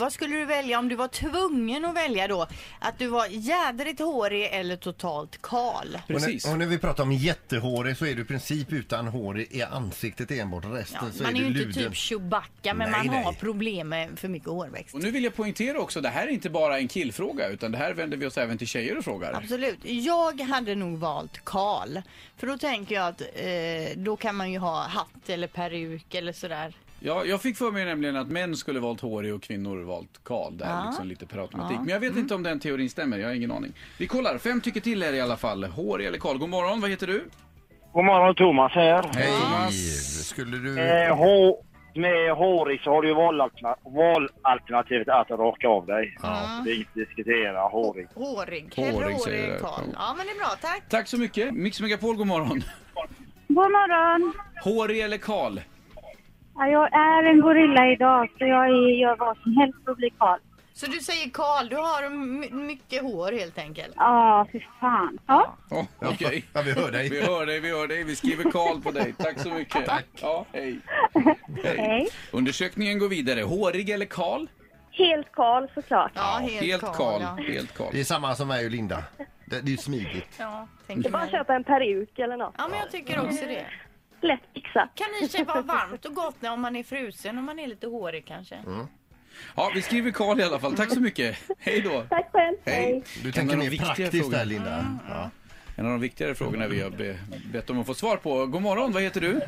Vad skulle du välja om du var tvungen att välja då? Att du var jädrigt hårig eller totalt kal? Och Precis. när, och när vi pratar om jättehårig så är du i princip utan hår i i ansiktet enbart. Ja, Resten så är man är du ju inte luden. typ Chewbacca men Nej, man har nej. problem med för mycket hårväxt. Och nu vill jag poängtera också, det här är inte bara en killfråga utan det här vänder vi oss även till tjejer och frågar. Absolut. Jag hade nog valt Karl. För då tänker jag att eh, då kan man ju ha hatt eller peruk eller sådär. Ja, jag fick för mig nämligen att män skulle valt hårig och kvinnor valt kal. Det här är liksom lite per automatik. Men jag vet inte om den teorin stämmer, jag har ingen aning. Vi kollar, fem tycker till är det i alla fall. Hårig eller kal. God morgon, vad heter du? God morgon, Thomas här. Hej! Thomas. Skulle du... Eh, hår, med hårig så har du ju valalterna- valalternativet att raka av dig. Det är inget att diskutera, hårig. Hårig. Hårig, Hellre säger hårig jag. än Karl. Ja men det är bra, tack. Tack så mycket. Mix Megapol, god morgon. God morgon! Hårig eller kal? Ja, jag är en gorilla idag så jag är- gör vad som helst för att bli kal. Så du säger Karl, du har my- mycket hår helt enkelt. Ja, fy fan. Ja. Oh, Okej. Ja, vi hör dig. Vi hör dig, vi hör dig. Vi skriver Karl på dig. Tack så mycket. Tack. Ja, hej. Hej. Undersökningen går vidare. Hårig eller kal? Helt kal såklart. Ja, Helt kal. Ja, Helt kal. Det är samma som mig och Linda. Det, det är ju smidigt. ja tänker Bara man. köpa en peruk eller något. Ja men jag tycker också det. Lätt fixat. Kan i sig vara varmt och gott när om man är frusen och man är lite hårig kanske. Mm. Ja, vi skriver Karl i alla fall. Tack så mycket. Hej då. Tack själv. Du tänker av de mer viktiga praktiskt frågorna. där, Linda. Ja. En av de viktigare frågorna vi har be- bett om att få svar på. God morgon, vad heter du?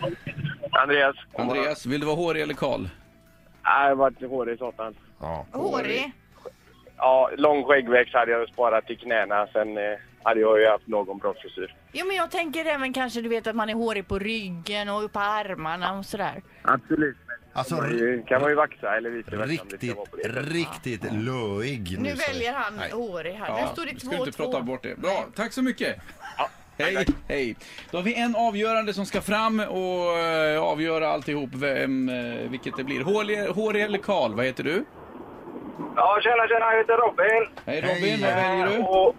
Andreas. Andreas, vill du vara hårig eller kal? Nej, jag vart hårig satan. Ja. Hårig. Ja, lång skäggväxt hade jag sparat till knäna. Sen eh, hade jag ju haft någon bra frisyr. Jo men jag tänker även kanske du vet att man är hårig på ryggen och på armarna och sådär. Absolut. Alltså, r- Det kan man ju vaxa eller vice versa. om det ska riktigt, vara på det sättet. riktigt löig. Nu så- väljer han Nej. hårig här. Där Ja, står det vi ska inte 2-2. prata bort det. Bra, tack så mycket. Hej, hej. Då har vi en avgörande som ska fram och eh, avgöra alltihop, vem, eh, vilket det blir. Hårig- Hårig eller kal, vad heter du? Ja, tjena, tjena. Jag heter Robin. Hej Hej. Robin, vad väljer du? Och,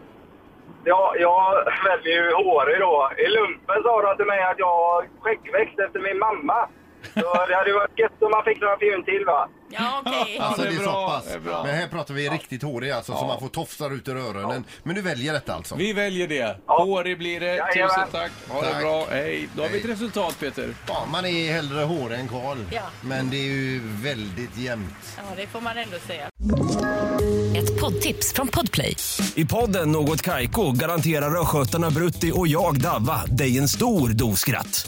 ja, jag väljer ju hårig då. I lumpen sa de till mig att jag har skäggväxt efter min mamma. Så det hade ju varit gött om man fick några fjun till va? Ja okej. Alltså Ja, det är, så bra, pass. det är bra. Men här pratar vi riktigt hårig alltså, så man får tofsar ut ur öronen. Men du väljer detta alltså? Vi väljer det. Hårig blir det. Jajamän. Tusen tack. Ha det Tack. bra. Hej. Då har vi ett Hej. resultat Peter. Ja, man är hellre hårig än kal. Ja. Men det är ju väldigt jämnt. Ja det får man ändå säga. Ett poddtips från Podplay. I podden Något Kaiko garanterar östgötarna Brutti och jag, Davva, dig en stor dos skratt.